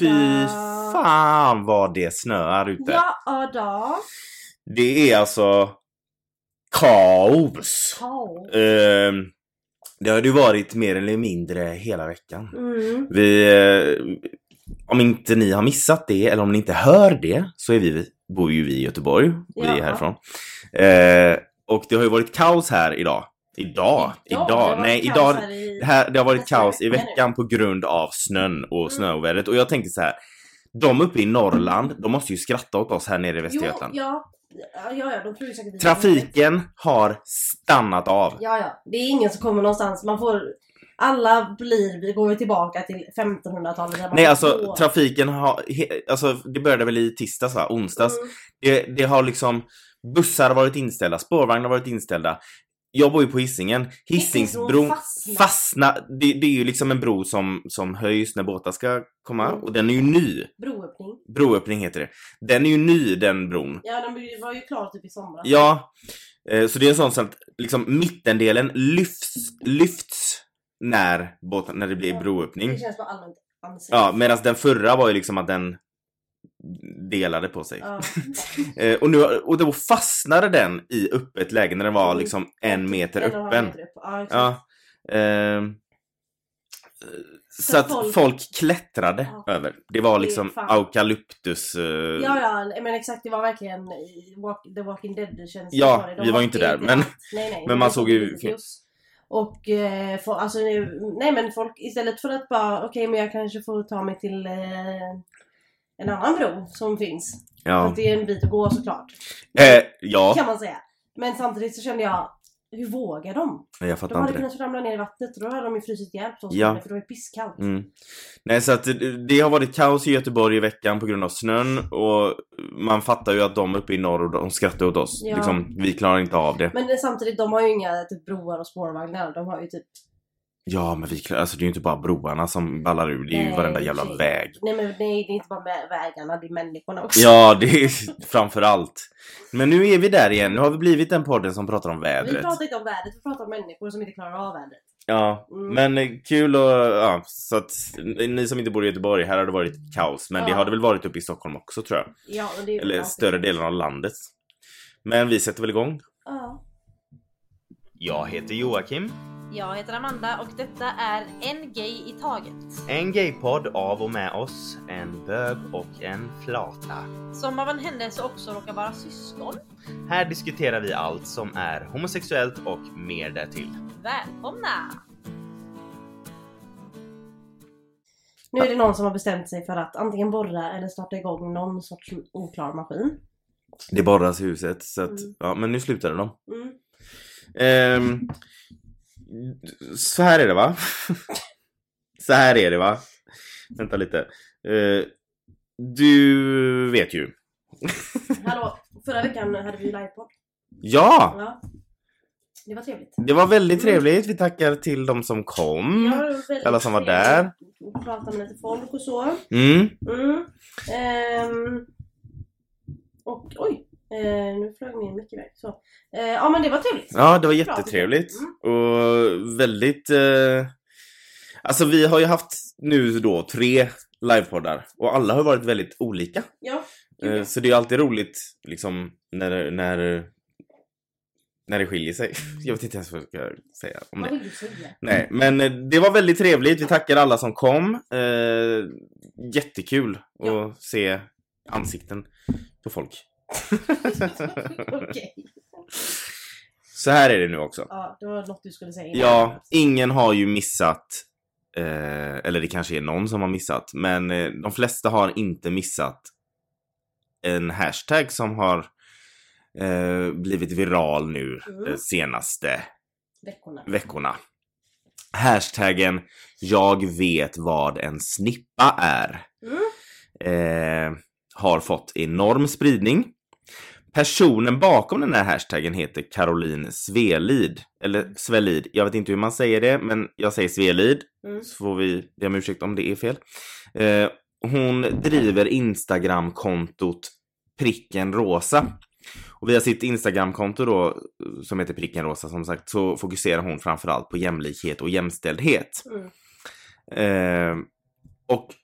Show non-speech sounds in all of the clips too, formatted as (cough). Fy fan vad det snöar ute. Ja, då. Det är alltså kaos. Kaos. Eh, det har det ju varit mer eller mindre hela veckan. Mm. Vi, eh, om inte ni har missat det eller om ni inte hör det så är vi, bor ju vi i Göteborg. Vi är Ja. härifrån. Eh, och det har ju varit kaos här idag. Idag? Idag? det var Nej, kaos idag. här i- Det, här, det har varit Nästa kaos i vecka nu. veckan på grund av snön och Mm. snöovädret. Och jag tänkte så här. De uppe i Norrland, de måste ju skratta åt oss här nere i Jo, Västergötland. ja. Ja, ja, de tror ju säkert vi- Trafiken har stannat av. Ja, ja. Det är ingen som kommer någonstans. Man får... Alla blir... Vi går ju tillbaka till 1500-talet. där man Nej får alltså gå. trafiken har, he, alltså det började väl i tisdags va? Onsdags. Mm. Det, det har liksom, bussar har varit inställda, spårvagnar har varit inställllda. Jag bor ju på Hisingen. Hisingsbron Hisingsbron fastnar. fastnar. Det, det är ju liksom en bro som, som höjs när båtar ska komma Mm. och den är ju ny. Broöppning. Broöppning heter det. Den är ju ny den bron. Ja, den var ju klar typ i somras. Ja, eh, så det är en sån som att liksom mittendelen lyfts, lyfts när, båten, när det blir Ja, broöppning. Det känns bara allmänt ansiktigt. Ja, medan den förra var ju liksom att den delade på sig. (laughs) Ja. Eh, och, nu, och då fastnade den i öppet läge när den var Mm. liksom en meter En och en halv öppen. meter upp. Ja, exakt. Ja. ehm, så Så att folk- folk klättrade Ja. över. Det var Det är liksom fan- eukalyptus... eh, Ja, ja, men exakt. Det var verkligen i walk, The Walking Dead-känsla. Ja, på det. vi var ju inte där, inte men- allt. nej, nej, men man såg ju- videos. Och eh, för, alltså, nu- nej men folk istället för att bara okej men jag kanske får ta mig till eh, en annan bro som finns. ja. Att det är en bit att gå såklart. Eh, ja, Kan man säga. Men samtidigt så kände jag, hur vågar de? jag De fattar hade inte det. kunnat ramla ner i vattnet och då hade de ju frysit ihjäl på Ja. ja. för det var ju pisskallt. Mm. Nej, så att det- det har varit kaos i Göteborg i veckan på grund av snön och man fattar ju att de uppe i norr och de skrattar åt oss. Ja. Liksom, vi klarar inte av det. Men eh, samtidigt, de har ju inga typ, broar och spårvagnar. De har ju typ Ja, men vi klarar, alltså det är ju inte bara broarna som ballar ur, det är ju Nej, varenda jävla precis. väg. Nej men nej, det är inte bara med vägarna, det är människorna också. Ja, det är (laughs) framför allt. Men nu är vi där igen, nu har vi blivit den podden som pratar om vi vädret. pratar inte om vädret, vi pratar om människor som inte klarar av vädret. Ja, Mm. men eh, kul och ja, så att ni som inte bor i Göteborg, här har det varit kaos. Men det Ja. har det väl varit uppe i Stockholm också tror jag. Ja, och det är Eller ja, större delen av landet. Men vi sätter väl igång. Ja. Jag heter Joakim. Jag heter Amanda och detta är En Gay i Taget. En gaypodd av och med oss, en bög och en flata. Som av en händelse också råkar vara syskon. Här diskuterar vi allt som är homosexuellt och mer därtill. Välkomna! Nu är det någon som har bestämt sig för att antingen borra eller starta igång någon sorts oklar maskin. Det borras i huset så att, Mm. ja men nu slutade de. Mm. Ehm, så här är det va? (laughs) så här är det va? Vänta lite. Eh, du vet ju. Hallå, förra veckan hade vi ju livepodd. Ja! Ja. Det var trevligt. Det var väldigt trevligt. Vi tackar till de som kom. Ja, det var väldigt Mm. Alla som var trevligt där. att Prata med lite folk och så. Mm. Mm. Ehm. Och oj, eh, nu flög min mycket iväg. Så. Eh, ja men det var trevligt. Ja, det var Bra. Mm. jättetrevligt. Och väldigt... Eh... Alltså vi har ju haft nu då tre livepoddar och alla har varit väldigt olika. Ja, Eh, Kul. Så det är alltid roligt liksom när, när, när det skiljer sig. Mm. Jag vet inte ens vad jag ska säga om vad det. vill du (laughs) säga? Nej, men eh, det var väldigt trevligt. Vi tackar alla som kom. Eh, jättekul att Ja. se ansikten på folk. Okej. Så här är det nu också. Ja, det var något du skulle säga innan. Ja, ingen har ju missat. Eh, eller det kanske är någon som har missat. Men eh, de flesta har inte missat en hashtag som har eh, blivit viral nu Mm. de senaste Veckorna. veckorna. Hashtaggen jag vet vad en snippa är. Mm. Eh, har fått enorm spridning. Personen bakom den här hashtaggen heter Caroline Svelid. Eller Svelid, jag vet inte hur man säger det, men jag säger Svelid. Mm. Så får vi be om ursäkt om det är fel. Eh, hon driver Instagram-kontot pricken rosa. Och via sitt Instagram-konto då, eh, som heter pricken rosa som sagt, så fokuserar hon framförallt på jämlikhet Eh, och jämställdhet. Mm. Eh, och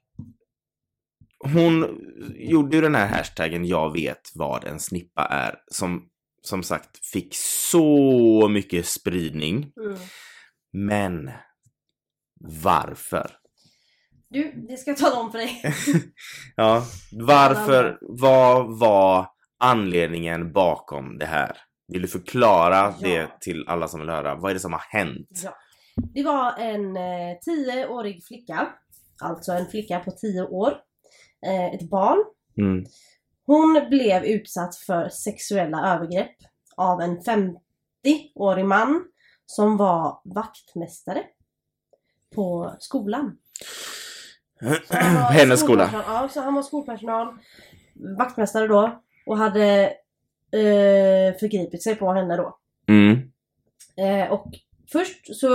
hon gjorde ju den här hashtaggen jag vet vad en snippa är som som sagt fick så mycket spridning. Mm. Men varför? Du, det ska jag tala om för (laughs) dig. Ja, varför? Vad var anledningen bakom det här? Vill du förklara Ja. det till alla som vill höra? Vad är det som har hänt? Ja. Det var en eh, 10-årig flicka, alltså en flicka på 10 år, eh, ett barn. Mm. Hon blev utsatt för sexuella övergrepp av en 50-årig man som var vaktmästare på skolan. Så han var (clears throat) Hennes skola. skolpersonal- Ja, så han var skolpersonal, vaktmästare då och hade eh, förgripit sig på henne då. Mm. Eh, och först så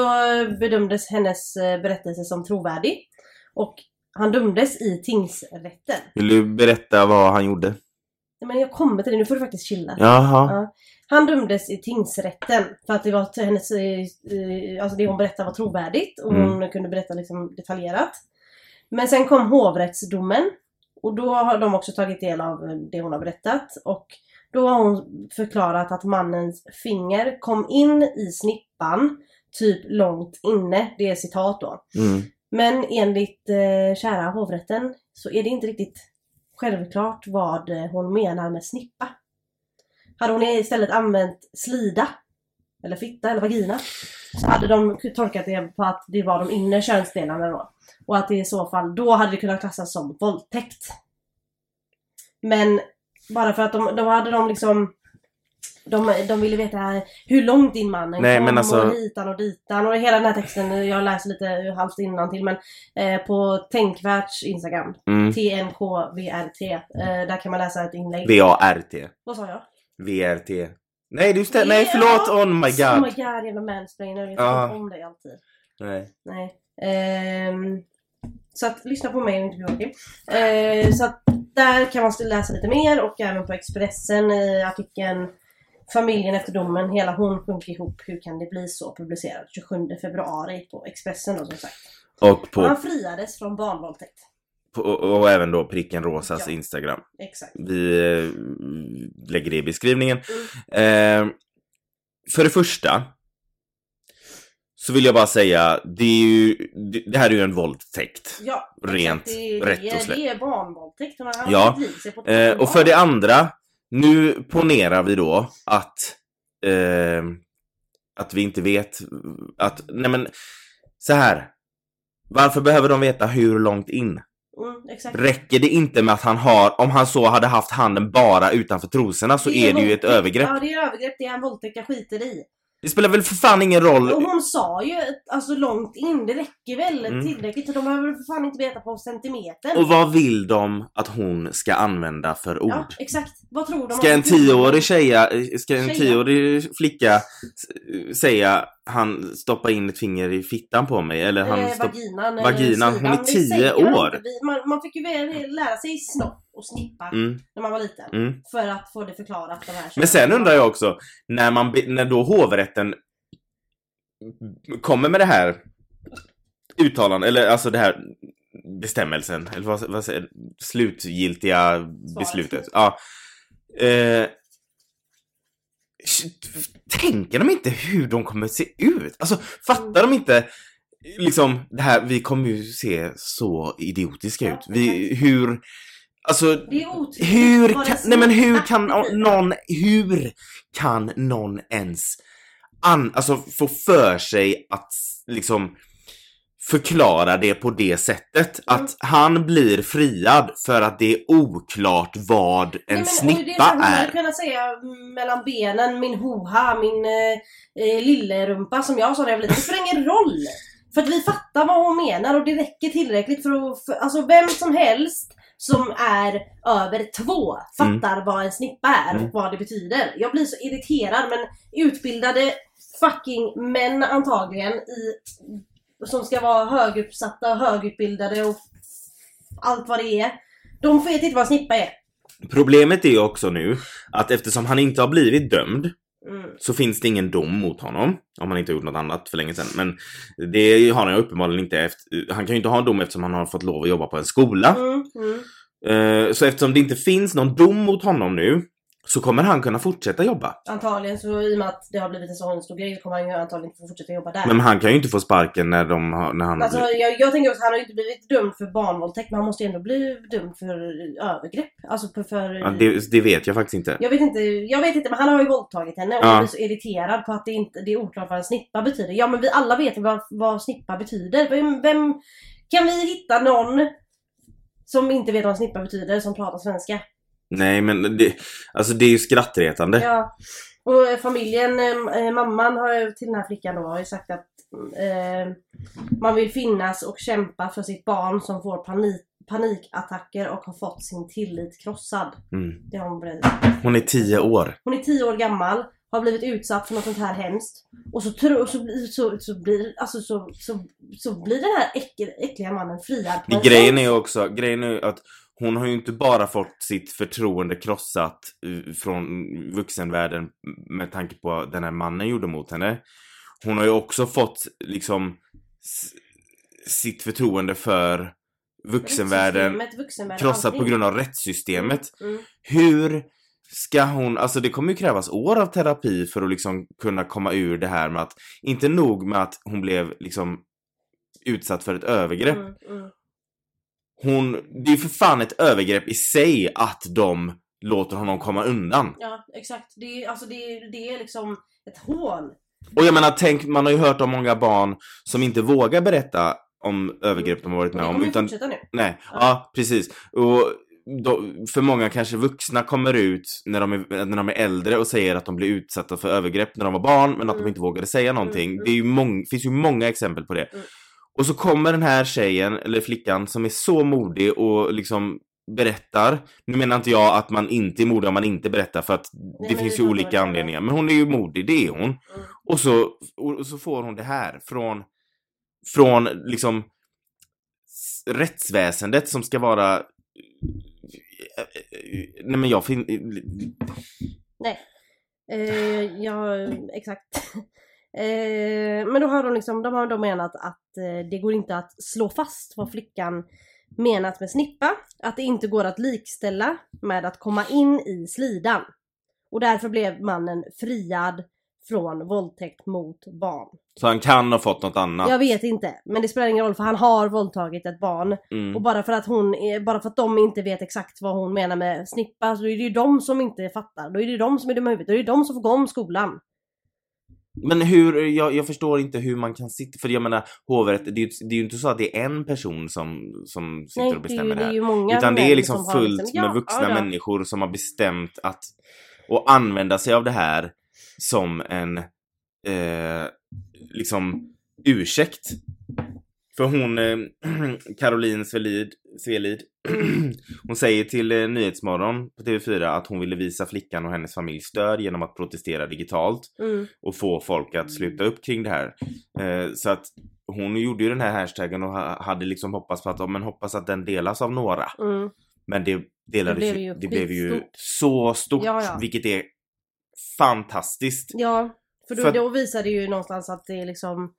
bedömdes hennes eh, berättelse som trovärdig och han dömdes i tingsrätten. Vill du berätta vad han gjorde? Nej, Men jag kommer till det, nu får du faktiskt chilla. Jaha. Ja. Han dömddes i tingsrätten för att det var till hennes, eh, eh, alltså det hon berättade var trovärdigt och Mm. hon kunde berätta liksom detaljerat. Men sen kom hovrättsdomen och då har de också tagit del av eh, det hon har berättat och då har hon förklarat att mannens finger kom in i snippan typ långt inne, det är citat då. Mm. Men enligt eh, kära hovrätten så är det inte riktigt självklart vad eh, hon menar med snippa. Hade hon istället använt slida, eller fitta eller vagina, så hade de tolkat det på att det var de inre könsdelarna då. Och att det i så fall, då hade det kunnat klassas som våldtäkt. Men bara för att de, de hade de liksom de, de ville veta hur långt in mannen Nej, kom men alltså- och hitan och ditan och hela den här texten, jag läser lite halvt innantill men eh, på Tänkvärts Instagram, Mm. TNKVRT, eh, där kan man läsa ett inlägg. V-A-R-T. Vad sa jag? VRT. Nej, du ställer... Nej, Ja. förlåt! Oh my Oh god. my god, jävla mansplainer. Jag vet Ja. inte om dig alltid. Nej. Nej. Ehm, så att lyssna på mig och inte på Joakim. Ehm, så att där kan man still- läsa lite mer och även på Expressen i artikeln Familjen efter domen, hela hon sjönk ihop, hur kan det bli så? Publicerad 27 februari på Expressen då som sagt. Och, Och på, han friades från barnvåldtäkt. på, och, och även då pricken rosas Ja. Instagram. Exakt. Vi eh, lägger det i beskrivningen. Eh, för det första så vill jag bara säga, det, är ju, det, det här är ju en våldtäkt. Ja, Rent, exakt. Det är- rätt och det är- slätt. Det är barnvåldtäkt. Han har Ja. fått liv sig på Eh, och för det andra, nu ponerar vi då att, eh, att vi inte vet att, nej men så här. Varför behöver de veta hur långt in? Mm, exakt. Räcker det inte med att han har, om han så hade haft handen bara utanför trosorna så är det ju ett våldtäkt. övergrepp. Ja, det är övergrepp. Det är en våldtäkt jag skiter i. Det spelar väl för fan ingen roll. Och hon sa ju ett- alltså långt in, det räcker väl Mm. tillräckligt. Så de behöver väl för fan inte veta på centimetern. Och vad vill de att hon ska använda för ord? Ja, exakt. Vad tror de? Ska om- en tioårig tjeja, eh, ska en Tjeja. tioårig flicka s- säga han stoppa in ett finger i fittan på mig eller han Eh, stopp... vaginan. eller vaginan, hon är sidan. Det säger tio man år. inte. Vi- Man, man fick ju väl lära sig snopp och snippa mm, när man var liten. mm. För att få det förklarat. De här Men sen undrar jag också, när, man, be- när då hovrätten kommer med det här uttalandet, eller alltså det här bestämmelsen, eller vad, vad säger slutgiltiga beslutet. Ja. Eh, shit, tänker de inte hur de kommer se ut? Alltså fattar de inte liksom det här, vi kommer ju se så idiotiska Ja, ut. Vi, hur, alltså Det är otydligt. hur vad kan, det nej men hur snippa kan betyder. någon, hur kan någon ens an, alltså få för sig att liksom förklara det på det sättet Mm. att han blir friad för att det är oklart vad en Nej, men, och det snippa som Hon hade är. kunnat säga mm, mellan benen, min hoha, min eh, eh, lillerumpa som jag sa när jag var liten. Det spelar ingen roll! För att vi fattar vad hon menar och det räcker tillräckligt för att, för, alltså vem som helst som är över två fattar vad en snippa är Mm. och vad det betyder. Jag blir så irriterad men utbildade fucking män antagligen i, som ska vara höguppsatta och högutbildade och allt vad det är. De vet inte vad en snippa är. Problemet är ju också nu att eftersom han inte har blivit dömd Mm. så finns det ingen dom mot honom. Om han inte har gjort något annat för länge sedan. Men det har han ju uppenbarligen inte efter, han kan ju inte ha en dom eftersom han har fått lov att jobba på en skola. Mm, mm. Eh, Så eftersom det inte finns någon dom mot honom nu så kommer han kunna fortsätta jobba. Antagligen så i och med att det har blivit en sån stor grej så kommer han ju antagligen få fortsätta jobba där. Men han kan ju inte få sparken när, de har, när han har Alltså, blivit- jag, jag tänker också att han har ju inte blivit dömd för barnvåldtäkt men han måste ju ändå bli dömd för övergrepp. Alltså för... för ja, det, det vet jag faktiskt inte. Jag vet inte, jag vet inte men han har ju våldtagit henne och Ja. jag blir så irriterad på att det, inte, det är oklart vad en snippa betyder. Ja men vi alla vet ju vad, vad snippa betyder. Vem, vem, kan vi hitta någon som inte vet vad en snippa betyder som pratar svenska? Nej men det, alltså det är ju skrattretande. Ja. Och familjen, eh, mamman har ju till den här flickan då har ju sagt att eh, man vill finnas och kämpa för sitt barn som får panik, panikattacker och har fått sin tillit krossad. Mm. Det har hon berättat. Hon är tio år. Hon är 10 år gammal, har blivit utsatt för något sånt här hemskt. Och så, tro, och så, blir- så, så, blir, alltså, så, så, så blir den här äckel, äckliga mannen friad. på en Grejen är gång. ju också grejen är ju att hon har ju inte bara fått sitt förtroende krossat eh, från vuxenvärlden med tanke på vad den här mannen gjorde mot henne. Hon har ju också fått liksom s- sitt förtroende för vuxenvärlden Rättssystemet, vuxenvärlden, krossat på allting. grund av rättssystemet. Mm. Hur ska hon, alltså det kommer ju krävas år av terapi för att liksom kunna komma ur det här med att, inte nog med att hon blev liksom utsatt för ett övergrepp. Mm, mm. Hon, det är ju för fan ett övergrepp i sig att de låter honom komma undan. Ja, exakt. Det är, alltså, det är, det är liksom ett hål. Och jag menar tänk, man har ju hört om många barn som inte vågar berätta om övergrepp de har varit Och med det om kommer ju utan fortsätta nu. Nej, Ja. ja, precis. Och då, för många kanske vuxna kommer ut när de, är, när de är äldre och säger att de blir utsatta för övergrepp när de var barn men att Mm. de inte vågade säga någonting. Mm, Det är ju mång, finns ju många exempel på det. Mm. Och så kommer den här tjejen, eller flickan, som är så modig och liksom berättar. Nu menar inte jag att man inte är modig om man inte berättar för att det men finns vi ju fattar vad du olika menar. anledningar. Men hon är ju modig, det är hon. Mm. Och så, och så får hon det här från, från liksom s- rättsväsendet som ska vara Nej men jag fin... Eh, ja, exakt. (laughs) Eh, men då har de liksom, de har då menat att eh, det går inte att slå fast vad flickan menat med snippa. Att det inte går att likställa med att komma in i slidan. Och därför blev mannen friad från våldtäkt mot barn. Så han kan ha fått något annat. Jag vet inte, men det spelar ingen roll för han har våldtagit ett barn. Mm. Och bara för att hon, är- bara för att de inte vet exakt vad hon menar med snippa, så är det ju de som inte fattar. Då är det ju de som är dumma i huvudet. Då är det ju de som får gå om skolan. Men hur, jag, jag förstår inte hur man kan sitta, för jag menar hovrätt, det är ju, det är ju inte så att det är en person som, som sitter och det, är ju- bestämmer det det är här. ju många Utan det män är liksom som har fullt bestämt- med vuxna ja, ja. människor som har bestämt att och använda sig av det här som en eh, liksom ursäkt. För hon, eh, (clears throat) Caroline Svelid, Svelid, (clears throat) hon säger till eh, Nyhetsmorgon på TV4 att hon ville visa flickan och hennes familj stöd genom att protestera digitalt Mm, och få folk att sluta upp kring det här. Eh, så att hon gjorde ju den här hashtaggen och ha, hade liksom hoppats på att, ja, men hoppas att den delas av några. mm. Men det delades Det blev ju, ju det blev ju skitstort. så stort, Ja, ja. vilket är fantastiskt. Ja, för då, För att- då visar det ju någonstans att det är liksom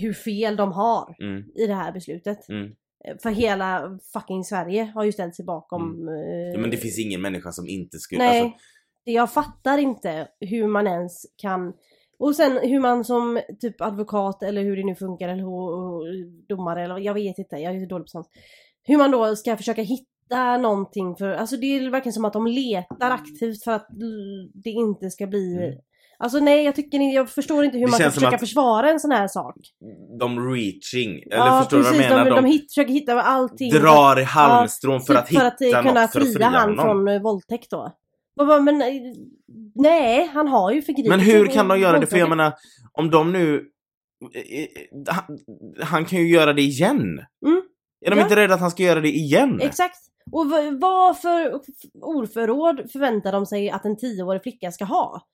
hur fel de har Mm. i det här beslutet. Mm. Eh, För hela fucking Sverige har ju ställt sig bakom... eh, Mm. Ja, men det finns ingen människa som inte skulle... Nej, Alltså, det jag fattar inte hur man ens kan... Och sen hur man som typ advokat eller hur det nu funkar eller hur, hur- domare eller jag vet inte, jag är ju dålig på sånt. Hur man då ska försöka hitta någonting för, alltså det är verkligen som att de letar aktivt för att l- det inte ska bli Mm. Alltså nej, jag tycker ni- jag förstår inte hur Det man kan känns som försöka att- försvara en sån här sak. de reaching, eller ja förstår du vad jag precis, menar? de, De, de hit, försöker hitta allting. drar i halmstrån för, Typ att hitta eh, kunna något för att fria fria han honom. från eh, våldtäkt då. Man bara, men eh, nej, han har ju förgripit Men sig hur på kan de göra det? För jag våldtäkt. menar, om de nu... eh, eh, Han, han kan ju göra det igen. Mm. Är de Ja. inte rädda att han ska göra det igen? Exakt. Och v- vad för f- ordförråd förväntar de sig att en tioårig flicka ska ha?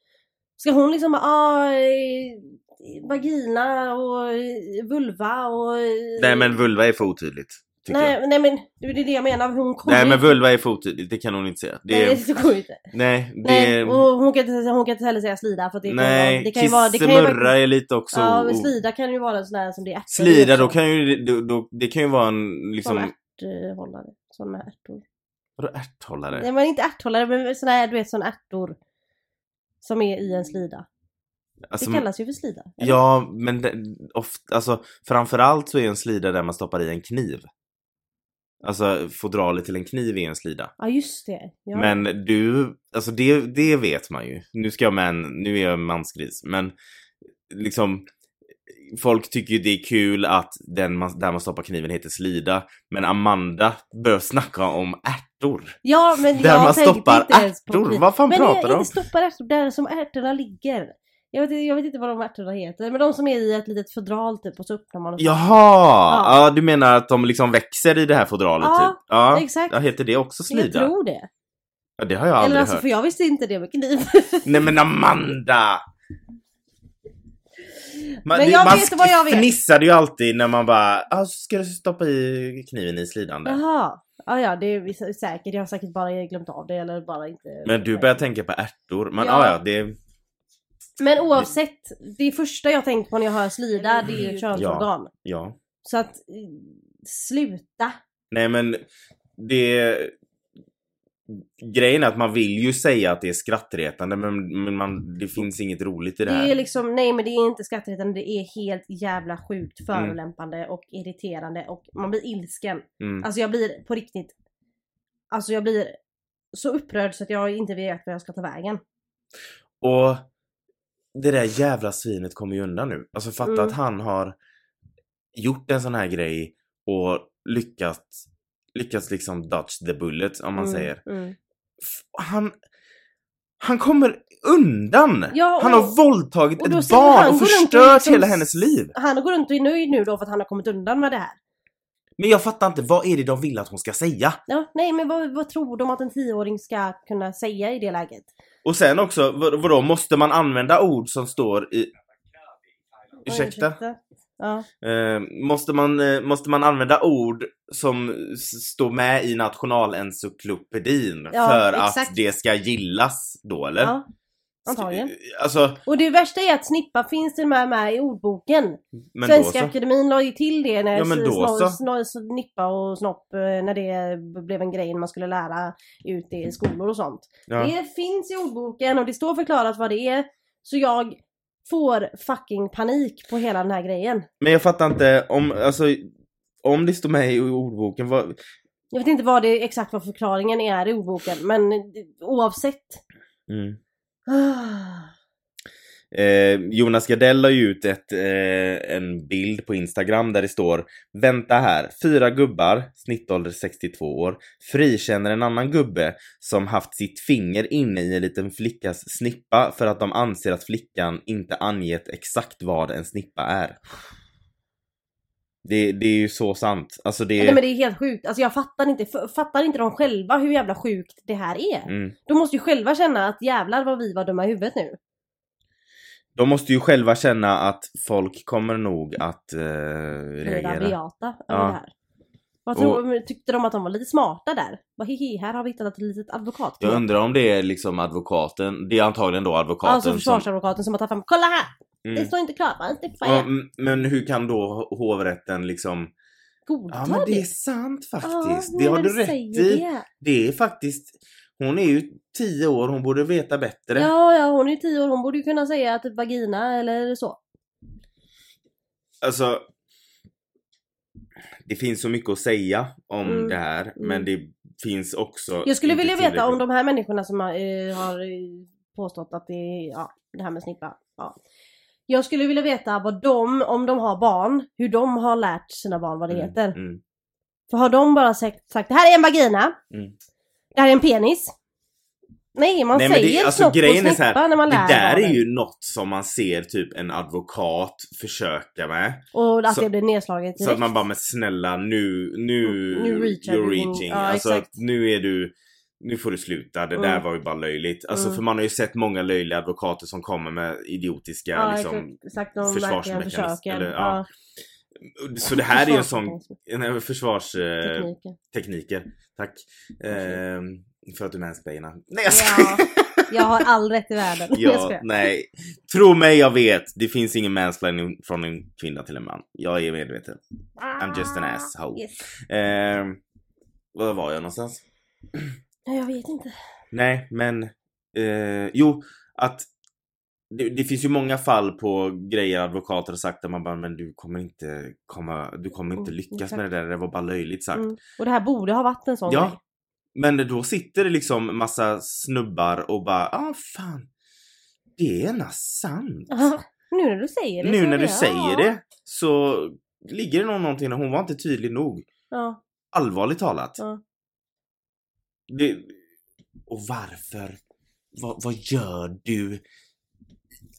Ska hon liksom bara, ah, eh, vagina och eh, vulva och... eh, Nej men vulva är för otydligt. Tycker jag. nej, nej men det är det jag menar, hon kommer Nej men ju- vulva är för otydligt, det kan hon inte säga. Det, Nej, det går ju inte. nej, det... Nej, och hon kan inte, hon kan inte heller säga slida för att det kan ju vara... Nej, Det kan ju vara... Det kan ju vara kissemurra är lite också... ja, men o- slida kan ju vara en sån här som det är ärtor i slida, också. då kan ju, då, då, det kan ju vara en Som liksom... ärthållare. Sådana med ärtor. Vadå ärthållare? Nej men inte ärthållare men sådana här, du vet sådana ärtor. Som är i en slida. Alltså, det kallas ju för slida. eller? Ja, men det, ofta, alltså, framförallt så är en slida där man stoppar i en kniv. Alltså fodralet till en kniv är en slida. Ja just det. Ja. Men du, alltså det, det vet man ju. Nu ska jag med en, nu är jag en mansgris, men liksom folk tycker ju det är kul att den man, där man stoppar kniven heter slida, men Amanda börjar snacka om ärtor. ja, men där jag man tänkte stoppar inte ens på ärtor, kniv. vad fan Men pratar du jag om? inte stoppar ärtor, där som ärtorna ligger. Jag vet, jag vet inte vad de ärtorna heter, men de som är i ett litet fodral typ och så öppnar man och så. Jaha! Ja. Ja. du menar att de liksom växer i det här fodralet Ja, typ? Ja, exakt. Ja, heter det också jag slida? tror det. Ja, det har jag Eller aldrig alltså hört. för jag visste inte det med kniv. Nej men Amanda! Man, Men det- jag man vet vad jag vet. fnissade ju alltid när man bara, ah, så ska du stoppa i kniven i slidan där. Jaha. Ja, ja, det är vi- säkert. Jag har säkert bara glömt av det eller bara inte... Men du börjar tänka på ärtor. Men Ja. ja, ah, ja, det... Men oavsett, det första jag tänker på när jag hör slida, det är ju könsorgan. Ja. Så att, eh, sluta. Nej men, det... Grejen är att man vill ju säga att det är skrattretande men, men man, det finns inget roligt i det Det här. är liksom, nej men det är inte skrattretande, det är helt jävla sjukt förolämpande och irriterande och man blir ilsken. Mm. Alltså jag blir på riktigt, alltså jag blir så upprörd så att jag inte vet vad jag ska ta vägen. Och det där jävla svinet kommer ju undan nu. Alltså fatta Mm. att han har gjort en sån här grej och lyckats, lyckats liksom dodge the bullet om man Mm, säger. Mm. F- Han, han kommer undan! Ja, och- han har våldtagit och då ett säger han, barn och går runt och förstört liksom hela s- hennes liv. Han går runt och är nöjd nu då för att han har kommit undan med det här. Men jag fattar inte, vad är det de vill att hon ska säga? Ja, nej men vad, vad tror de att en tioåring ska kunna säga i det läget? Och sen också, vad- vadå, måste man använda ord som står i... Ursäkta? Ja. Eh, måste, man, eh, måste man använda ord som s- står med i nationalencyklopedin Ja, för exakt. att det ska gillas då eller? ja, antagligen. Sk- Alltså, Och det värsta är att snippa finns till och med med i ordboken. men då Svenska så. Akademin la ju till det när Ja, men då snor- så. snor- snippa och snopp, eh, när det blev en grej när man skulle lära ut det i skolor och sånt. Ja. Det finns i ordboken och det står förklarat vad det är. Så jag får fucking panik på hela den här grejen. Men jag fattar inte om, alltså, om det står med i ordboken, vad... Jag vet inte vad det exakt vad förklaringen är i ordboken men eh, oavsett. Mm. Ah. Eh, Jonas Gardell la ju ut ett, eh, en bild på Instagram där det står Vänta här, fyra gubbar, snittålder 62 år, frikänner en annan gubbe som haft sitt finger inne i en liten flickas snippa för att de anser att flickan inte angett exakt vad en snippa är. Det, det är ju så sant. Alltså det... Nej men det är helt sjukt. Alltså jag fattar inte, f- fattar inte de själva hur jävla sjukt det här är. Mm. De måste ju själva känna att jävlar vad vi var dumma i huvudet nu. De måste ju själva känna att folk kommer nog att eh, reagera. Reagera. Beata över Ja. det här. Vad tror, Och- men Tyckte de att de var lite smarta där? Vad hehe, här har vi hittat ett litet advokat. Jag undrar om det är liksom advokaten, det är antagligen då advokaten alltså försvarsadvokaten som har tagit fram, kolla här! som... Det Mm. står inte klart va? Det Ja, är m- men hur kan då h- hovrätten liksom... godta Ja men det är sant faktiskt. Ja, det nej, har men du rätt säger i. Det. det. är faktiskt... Hon är ju 10 år, hon borde veta bättre. Ja, ja, hon är ju tio år, hon borde ju kunna säga att typ vagina eller så. Alltså... Det finns så mycket att säga om Mm, det här, men mm. det finns också... Jag skulle inte vilja veta om tillräckligt- de här människorna som har, eh, har eh, påstått att det är ja, det här med snippa. Ja. Jag skulle vilja veta vad de, om de har barn, hur de har lärt sina barn vad det Mm, heter. Mm, För har de bara sagt, sagt det här är en vagina, mm. det här är en penis. Nej, man Nej, men det- säger alltså, snopp och grejen snippa är så här, när man Det lär där är barnen. ju något som man ser typ en advokat försöka med. Och att så- det blir nedslaget Så att direkt. man bara, men snälla nu, nu, Mm, nu reachar you're du din- reaching. ja, alltså exakt. nu är du, nu får du sluta. Det där Mm. var ju bara löjligt. Alltså Mm. för man har ju sett många löjliga advokater som kommer med idiotiska ja, liksom. exakt, de verkligen försvarsmekanism, försöker. eller, ja. Så det här är ju en sån, eh, en försvarstekniker. (laughs) Tekniken. Tack. Okej. Ehm, för att du mansplainar. Nej jag skojar. Ja, jag har all rätt i världen. (laughs) Jag Ja, skojar. nej. Tro mig, jag vet. Det finns ingen mansplaining från en kvinna till en man. Jag är medveten. I'm just an asshole. Ah, Yes. Ehm, Var var jag någonstans? Nej, jag vet inte. Nej, men eh, jo, att det, det finns ju många fall på grejer advokater har sagt där man bara, men du kommer inte komma, du kommer inte Mm, lyckas exakt. med det där, det var bara löjligt sagt. Mm. Och det här borde ha varit en sån grej. Ja. Men då sitter det liksom massa snubbar och bara, ah fan. Det är ena sant. Aha, nu när du säger det. nu så när är du det, ja. säger det så ligger det nog någonting där. hon var inte tydlig nog. Ja. Allvarligt talat. Ja. Det... Och varför? Vad, vad gör du?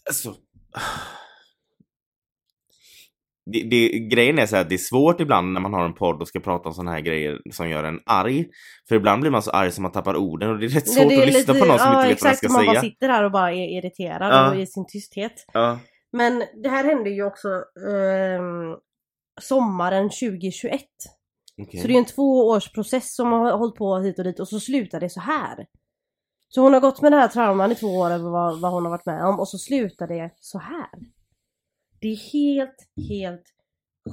Alltså... (sighs) Det, det, grejen är så här, att det är svårt ibland när man har en podd och ska prata om såna här grejer som gör en arg. För ibland blir man så arg som man tappar orden och det är rätt svårt är att lyssna på någon som ja, inte vet exakt, vad den ska man bara säga. sitter där och bara är irriterad Ja. och i sin tysthet. Ja. Men det här hände ju också ehm, sommaren 2021. okej. Så det är en tvåårsprocess som har hållit på hit och dit och så slutar det så här. Så hon har gått med det här trauman i två år över vad, vad hon har varit med om och så slutar det så här. Det är helt, helt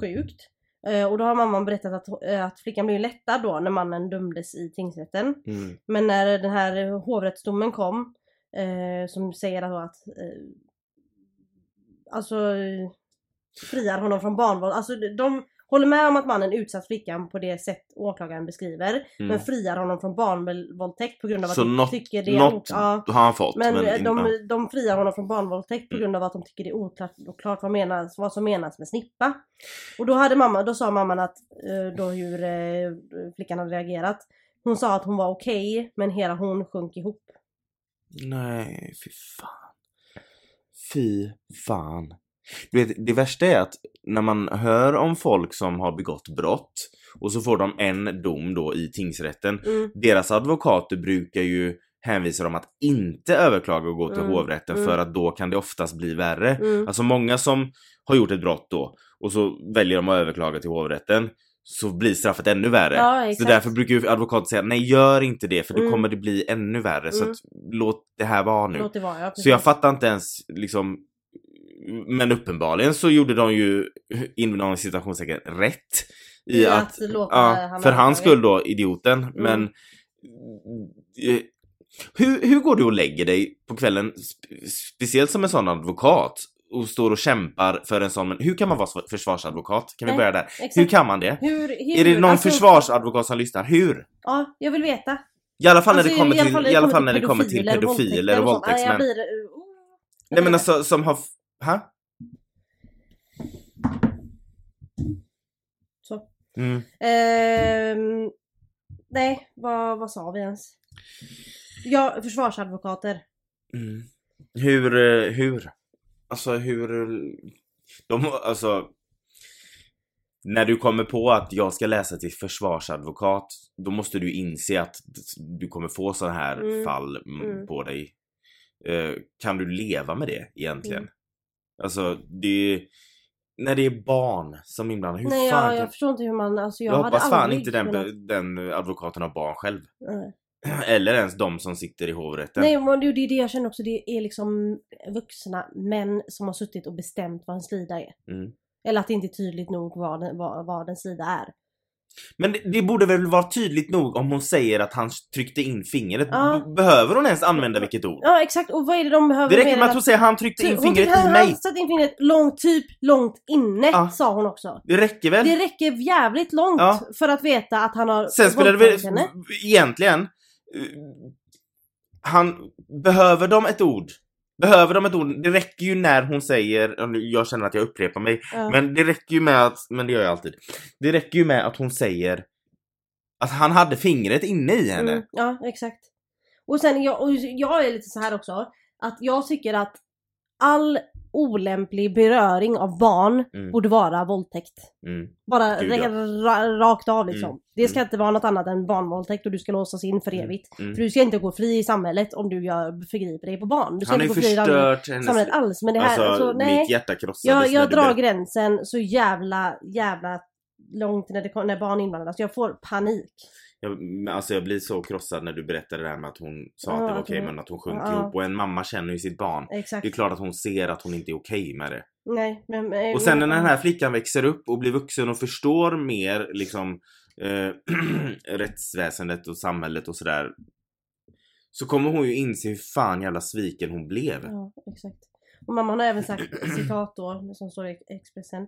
sjukt. Eh, och då har mamman berättat att, eh, att flickan blev lättad då när mannen dömdes i tingsrätten. Mm. Men när den här hovrättsdomen kom eh, som säger då att eh, alltså eh, friar honom från barnvård. Alltså de- de håller med om att mannen utsatt flickan på det sätt åklagaren beskriver men Mm. friar honom från barnvåldtäkt på grund av att Så de något- tycker det är Något ok- ja. har han fått. Men, men eh, in- ja. Mm. de, de friar honom från barnvåldtäkt på grund av att de tycker det är oklart oklart vad, menas, vad som menas med snippa. Och då, hade mamma, då sa mamman att, eh, då hur eh, flickan hade reagerat. Hon sa att hon var okej, men hela hon sjönk ihop. Nej, fy fan. Fy fan. Du vet, det värsta är att när man hör om folk som har begått brott och så får de en dom då i tingsrätten. Mm. Deras advokater brukar ju hänvisa dem att inte överklaga och gå till Mm, hovrätten mm. för att då kan det oftast bli värre. Mm. Alltså många som har gjort ett brott då och så väljer de att överklaga till hovrätten så blir straffet ännu värre. Ja, Så exakt. därför brukar ju advokater säga nej gör inte det för då Mm. kommer det bli ännu värre så Mm. att låt det här vara nu. Låt det vara, ja, precis. Så jag fattar inte ens liksom men uppenbarligen så gjorde de ju inom citationstecken rätt i I att, att låta ja, han Mm. för hans överklaga. skull då idioten men eh, hur, hur går du och lägger dig på kvällen spe- speciellt som en sån advokat och står och kämpar för en sån men hur kan man vara s- försvarsadvokat? Kan vi Nej, Alltså, börja där? Exakt. Hur kan man det? Hur- hur- Är det någon alltså- försvarsadvokat som lyssnar? Hur? Ja, jag vill veta. I alla fall när Alltså, det kommer till, i alla fall när det kommer till och pedofiler och våldtäkter sånt. våldtäktsmän. Nej, jag blir, oh. Nej men alltså som har... f- Ha? oh, Så. Mm. Ehm, nej, vad, vad sa vi ens? Ja, försvarsadvokater. Mm. Hur, eh, hur? Alltså hur... eh, De, alltså... När du kommer på att jag ska läsa till försvarsadvokat, då måste du inse att du kommer få sådana här Mm. fall mm, Mm. på dig. Eh, kan du leva med det egentligen? Mm. Alltså, det är... När det är barn som inblandar, hur nej, fan jag, kan... jag förstår inte hur man, alltså jag, Jag, hade hoppas fan aldrig inte den, kunnat- den advokaten har barn själv. (clears throat) Nej. Eller ens de som sitter i hovrätten. Nej, men det det är det jag känner också. Det är liksom vuxna män som har suttit och bestämt vad en slida är. Mm. Eller att det inte är tydligt nog vad, den- vad, vad en slida är. Men det, det borde väl vara tydligt nog om hon säger att han tryckte in fingret. Ja. B- Behöver hon ens använda vilket ord? Ja, exakt. Och vad är det de behöver Det räcker mer med än att hon säger han tryckte in Hon tycker fingret han- i mig. Han satte in fingret långt, typ långt inne, Ja. sa hon också. Det räcker väl? Det räcker jävligt långt Ja. för att veta att han har Sen spelar det väl våldtagit henne. egentligen... eh, Han... Behöver de ett ord? Behöver de ett ord? Det räcker ju när hon säger... och nu- Jag känner att jag upprepar mig. Ja. Men det räcker ju med att... Men det gör jag alltid. Det räcker ju med att hon säger att han hade fingret inne i henne. Mm, ja, exakt. Och sen jag, och jag är lite så här också, att jag tycker att all olämplig beröring av barn Mm. borde vara våldtäkt. Mm. Bara Gud, ja. ra- ra- rakt av liksom. Mm, Det ska mm. inte vara något annat än barnvåldtäkt och du ska låsas in för evigt. mm. För du ska inte gå fri i samhället om du gör, förgriper dig på barn. Du ska Han har inte ju gå fri i samhället- förstört hennes... samhället alls. Men det här, alltså, alltså, nej. mitt hjärta krossades Jag, jag när du drar berätt- gränsen så jävla, jävla långt när, det, kom- när barn inblandas. Jag får panik. jag, men alltså jag blir så krossad när du berättade det här med att hon sa Ja, att det var att okej hon- men att hon sjönk Ja. ihop och en mamma känner ju sitt barn. Exakt. Det är klart att hon ser att hon inte är okej med det. Nej, men... men- Och sen när den här flickan växer upp och blir vuxen och förstår mer liksom eh, (clears throat) rättsväsendet och samhället och sådär. Så kommer hon ju inse hur fan jävla sviken hon blev. Ja, exakt. Och mamman har även sagt, citat då, som står i Expressen.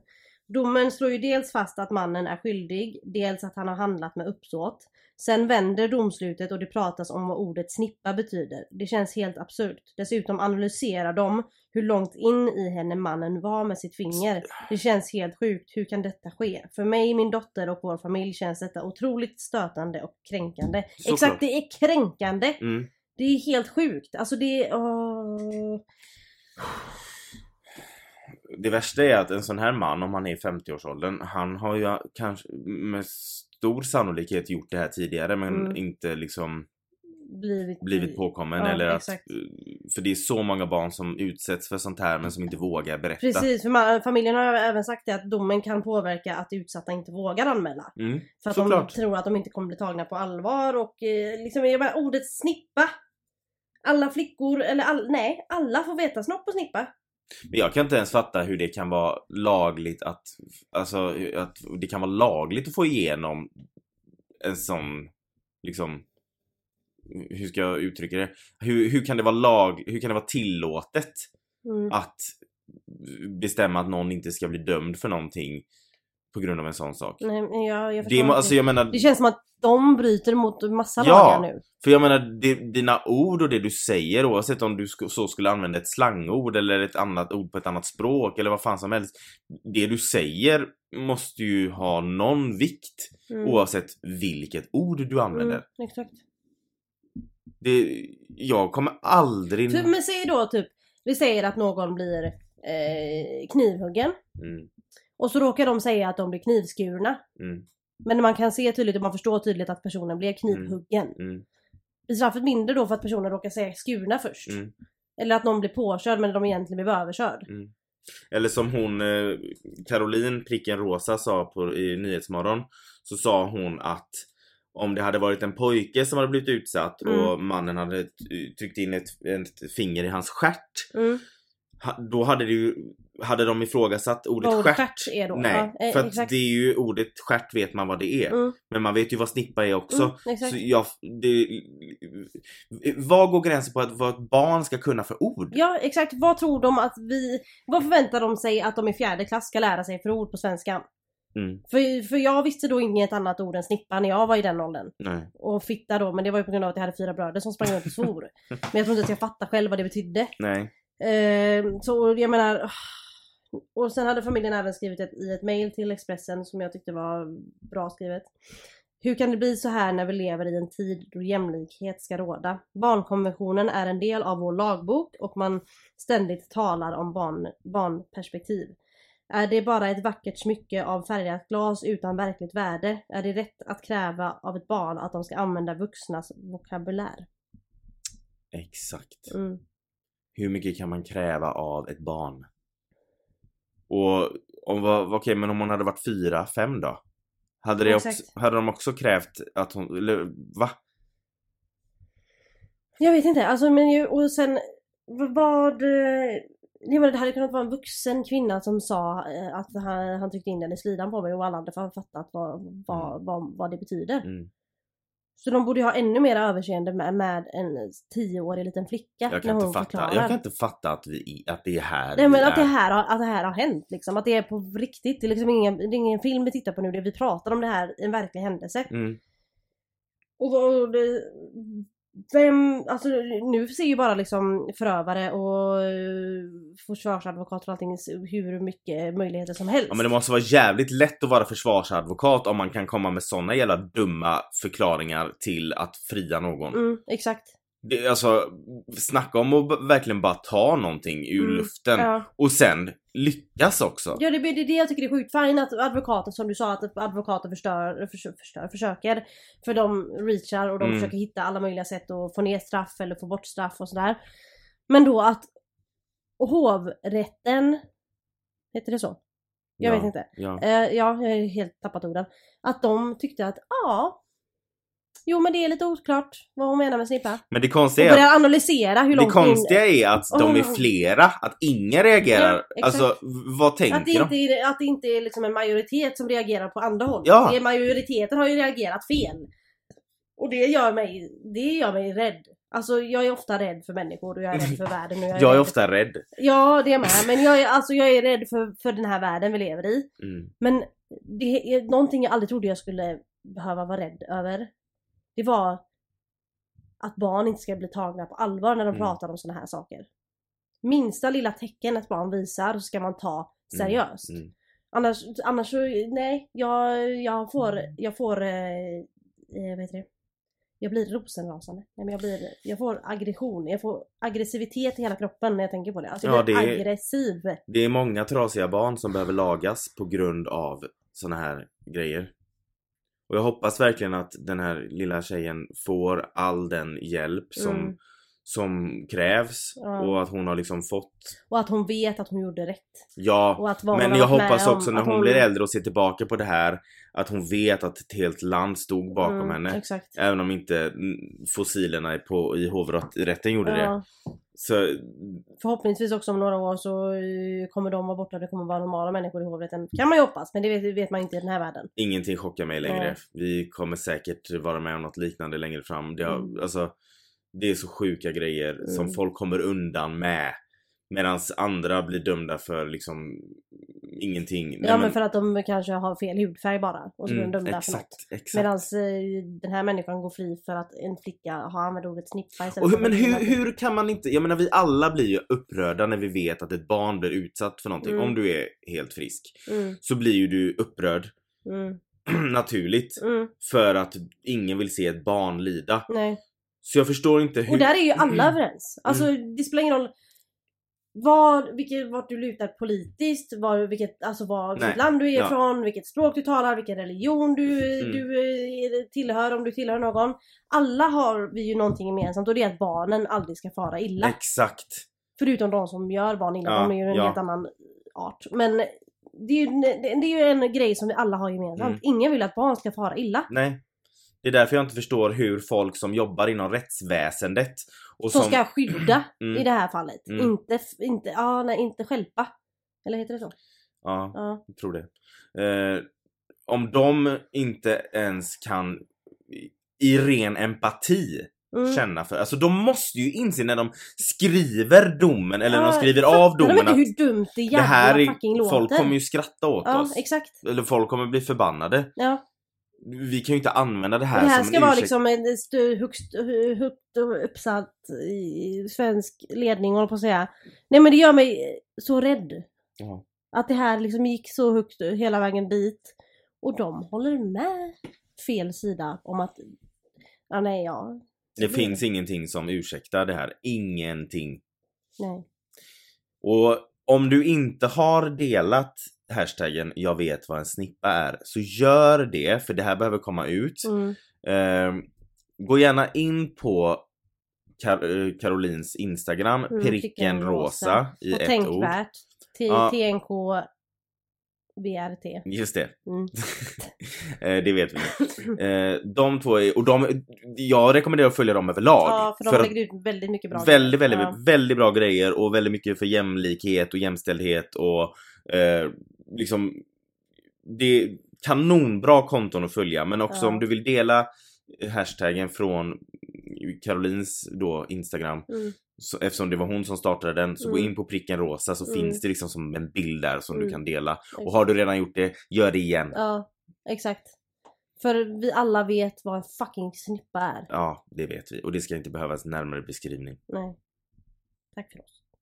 Domen slår ju dels fast att mannen är skyldig, dels att han har handlat med uppsåt. Sen vänder domslutet och det pratas om vad ordet snippa betyder. Det känns helt absurt. Dessutom analyserar de hur långt in i henne mannen var med sitt finger. Det känns helt sjukt. Hur kan detta ske? För mig, min dotter och vår familj känns detta otroligt stötande och kränkande. Såklart. Exakt, det är kränkande! Mm. Det är helt sjukt. Alltså det är... åh. Det värsta är att en sån här man, om han är i 50-årsåldern, han har ju kanske med stor sannolikhet gjort det här tidigare men Mm. inte liksom blivit, blivit påkommen Ja, eller att, eh, exakt. För det är så många barn som utsätts för sånt här men som inte vågar berätta. Precis, för man, familjen har även sagt det att domen kan påverka att utsatta inte vågar anmäla. Mm. För att Såklart. de tror att de inte kommer bli tagna på allvar och eh, liksom, jag menar, ordet snippa. Alla flickor, eller all, nej, alla får veta snopp och snippa. Men jag kan inte ens fatta hur det kan vara lagligt att, alltså att det kan vara lagligt att få igenom en sån, liksom, hur ska jag uttrycka det? Hur, hur kan det vara lag, hur kan det vara tillåtet Mm. att bestämma att någon inte ska bli dömd för någonting på grund av en sån sak? Nej, men jag, jag Det, förstår må- inte. alltså jag menar, det känns som att de bryter mot massa Ja. lagar nu. För jag menar, di- dina ord och det du säger oavsett om du sk- så skulle använda ett slangord eller ett annat ord på ett annat språk eller vad fan som helst. Det du säger måste ju ha någon vikt Mm. oavsett vilket ord du använder. Mm, exakt. Det, jag kommer aldrig... Typ, men säg då typ, vi säger att någon blir eh, knivhuggen. Mm, Och så råkar de säga att de blir knivskurna. Mm. Men man kan se tydligt och man förstår tydligt att personen blev knivhuggen. mm, Blir straffet mindre då för att personen råkar säga skurna först? mm, Eller att någon blir påkörd men de egentligen blev överkörd? mm. Eller som hon, eh, Caroline Pricken Rosa sa på, i Nyhetsmorgon, så sa hon att om det hade varit en pojke som hade blivit utsatt Mm. och mannen hade eh, tryckt in ett, ett finger i hans stjärt Mm. ha- då hade det ju, hade de ifrågasatt ordet Vad ordet stjärt. stjärt är då? Nej, Ja, eh, för att exakt. det är ju ordet stjärt vet man vad det är. Mm. Men man vet ju vad snippa är också. Mm, exakt. Så jag, det, vad går gränsen på att, vad ett barn ska kunna för ord? Ja exakt, vad tror de att vi... Vad förväntar de sig att de i fjärde klass ska lära sig för ord på svenska? Mm, För, för jag visste då inget annat ord än snippa när jag var i den åldern. nej. Och fitta då, men det var ju på grund av att jag hade fyra bröder som sprang runt (laughs) och svor. Men jag tror inte att jag fattade själv vad det betydde. Nej. Ehm, så jag menar... ah. Och sen hade familjen även skrivit ett, i ett mail till Expressen som jag tyckte var bra skrivet. Hur kan det bli så här när vi lever i en tid då jämlikhet ska råda? Barnkonventionen är en del av vår lagbok och man ständigt talar om barn, barnperspektiv. Är det bara ett vackert smycke av färgat glas utan verkligt värde? Är det rätt att kräva av ett barn att de ska använda vuxnas vokabulär? Exakt. Mm. Hur mycket kan man kräva av ett barn? Och om, vad- vad- okej men om hon hade varit fyra, fem då? Hade, det också, Exakt. hade de också krävt att hon, eller va? Jag vet inte, alltså men ju, och sen v- vad... eh, Jag menar, det hade kunnat vara en vuxen kvinna som sa eh, att han, han tryckte in den i slidan på mig och alla hade fa- fattat vad, vad, vad, vad det betyder. Mm. Så de borde ju ha ännu mer överseende med, med en tioårig liten flicka Jag när kan, hon inte fatta, förklarar. jag kan inte fatta att, vi, att det är här Nej vi men att det, är. här har, att det här har hänt liksom, att det är på riktigt. Det är liksom ingen, det är ingen film vi tittar på nu, det är- vi pratar om det här, en verklig händelse. Mm, Och vad- det, vem, alltså nu ser ju bara liksom förövare och eh, försvarsadvokater och allting så- hur mycket möjligheter som helst. Ja men det måste vara jävligt lätt att vara försvarsadvokat om man kan komma med såna jävla dumma förklaringar till att fria någon. mm, exakt. Det, alltså, snacka om att b- verkligen bara ta någonting ur Mm, luften Ja. och sen lyckas också. ja, det det är det jag tycker är sjukt fint att advokater, som du sa, att advokater förstör, förs- förstör försöker. För de reachar och de Mm. försöker hitta alla möjliga sätt att få ner straff eller få bort straff och sådär. Men då att hovrätten, heter det så? Jag ja, vet inte. Ja. Eh, ja, jag har helt tappat orden. Att de tyckte att ja, Jo men det är lite oklart vad hon menar med snippa. Men det Hon konstiga är börjar analysera hur Det långt in... konstiga är att de är Oh. flera, att ingen reagerar. Ja, exakt. alltså v- vad Att det, tänker inte de? är, att det inte är liksom en majoritet som reagerar på andra hållet. Ja. Det är majoriteten har ju reagerat fel. Och det gör mig, det gör mig rädd. Alltså jag är ofta rädd för människor och jag är rädd för världen. Och Jag är rädd- ofta rädd. Ja det är med. Men jag är, alltså, jag är rädd för, för den här världen vi lever i. Mm. Men det är någonting jag aldrig trodde jag skulle behöva vara rädd över. Det var att barn inte ska bli tagna på allvar när de Mm. pratar om sådana här saker. Minsta lilla tecken ett barn visar så ska man ta Mm, seriöst. mm. Annars, annars så, nej, jag, jag får, Mm. jag får, eh, eh, vad heter det? Jag blir rosenrasande. Nej, men jag, blir, jag får aggression, jag får aggressivitet i hela kroppen när jag tänker på det. Alltså jag Ja, blir det är- aggressiv. Det är många trasiga barn som behöver lagas på grund av såna här grejer. Och jag hoppas verkligen att den här lilla tjejen får all den hjälp som, Mm. som krävs Ja. och att hon har liksom fått, Och att hon vet att hon gjorde rätt. ja. Och att vad hon Men har jag varit med hoppas om, också när att hon blir äldre och ser tillbaka på det här att hon vet att ett helt land stod bakom Mm, henne. Exakt. Även om inte mm, fossilerna på, i hovrätten gjorde det. Ja, Så förhoppningsvis också om några år så eh, kommer de vara borta och det kommer vara normala människor i hovrätten. Kan man ju hoppas, men det vet, vet man inte i den här världen. ingenting chockar mig längre. Nej. Vi kommer säkert vara med om något liknande längre fram. Det, har, Mm. alltså, det är så sjuka grejer som Mm. folk kommer undan med. Medan andra blir dömda för liksom ingenting. Nej, ja men... för att de kanske har fel hudfärg bara och så blir de mm, dömda för exakt, något. exakt. Medan eh, den här människan går fri för att en flicka har använt ordet snippa istället Och hur, för men hur, kvinna. hur kan man inte, jag menar vi alla blir ju upprörda när vi vet att ett barn blir utsatt för någonting. Mm. Om du är helt frisk Mm, så blir ju du upprörd (clears throat) mm, naturligt mm, för att ingen vill se ett barn lida. nej. Så jag förstår inte hur... Mm, Och där är ju alla överens. Alltså det spelar ingen roll vad, vilket, vart du lutar politiskt, var, vilket, alltså var, vilket Nej. land du är Ja. ifrån, vilket språk du talar, vilken religion du, Mm. du eh, tillhör, om du tillhör någon. Alla har vi ju någonting gemensamt och det är att barnen aldrig ska fara illa. Exakt. Förutom de som gör barn illa, Ja, de är ju en ja. helt annan art. Men det är, ju, det är ju en grej som vi alla har gemensamt. Mm. Ingen vill att barn ska fara illa. Nej. Det är därför jag inte förstår hur folk som jobbar inom rättsväsendet och Som som... ska skydda Mm. i det här fallet. Mm. Inte, f- inte, ja, nej, inte stjälpa. Eller heter det så? Ja, Ja. jag tror det. Eh, om de inte ens kan i- i ren empati Mm. känna för, alltså de måste ju inse när de skriver domen eller när Ja, de skriver fattar av de domen inte att hur dumt det det jävla här fucking är, låter? folk kommer ju skratta åt Ja, oss. exakt. Eller folk kommer bli förbannade. Ja. Vi kan ju inte använda det Det här, här som ska en vara ursäkt. liksom en stu- högst, hö- högt uppsatt i svensk ledning håller på att säga. Nej men det gör mig så rädd. Ja. Att det här liksom gick så högt hela vägen dit. Och de håller med fel sida om att, ja nej ja. Det finns ingenting som ursäktar det här. Ingenting. Nej. Och om du inte har delat hashtaggen jag vet vad en snippa är så gör det för det här behöver komma ut. Mm. Ehm, gå gärna in på Kar- eh, Carolins Instagram, Mm, pricken rosa i och ett ord. tänkvärt. T- Ja. TNK BRT. Just det. Mm. (laughs) Eh, det vet vi. Eh, de två är, och de, jag rekommenderar att följa dem överlag. Ja, för de för att lägger ut väldigt mycket bra Väldigt, väldigt, ja. väldigt bra grejer och väldigt mycket för jämlikhet och jämställdhet och eh, liksom det är kanonbra konton att följa men också Ja. om du vill dela hashtaggen från Carolins då Instagram Mm. så, eftersom det var hon som startade den så gå Mm. in på pricken rosa så Mm. finns det liksom som en bild där som Mm. du kan dela och har du redan gjort det, gör det igen. Ja, Ja, exakt. För vi alla vet vad en fucking snippa är. det vet vi och det ska inte behövas närmare beskrivning. Nej. Tack för oss.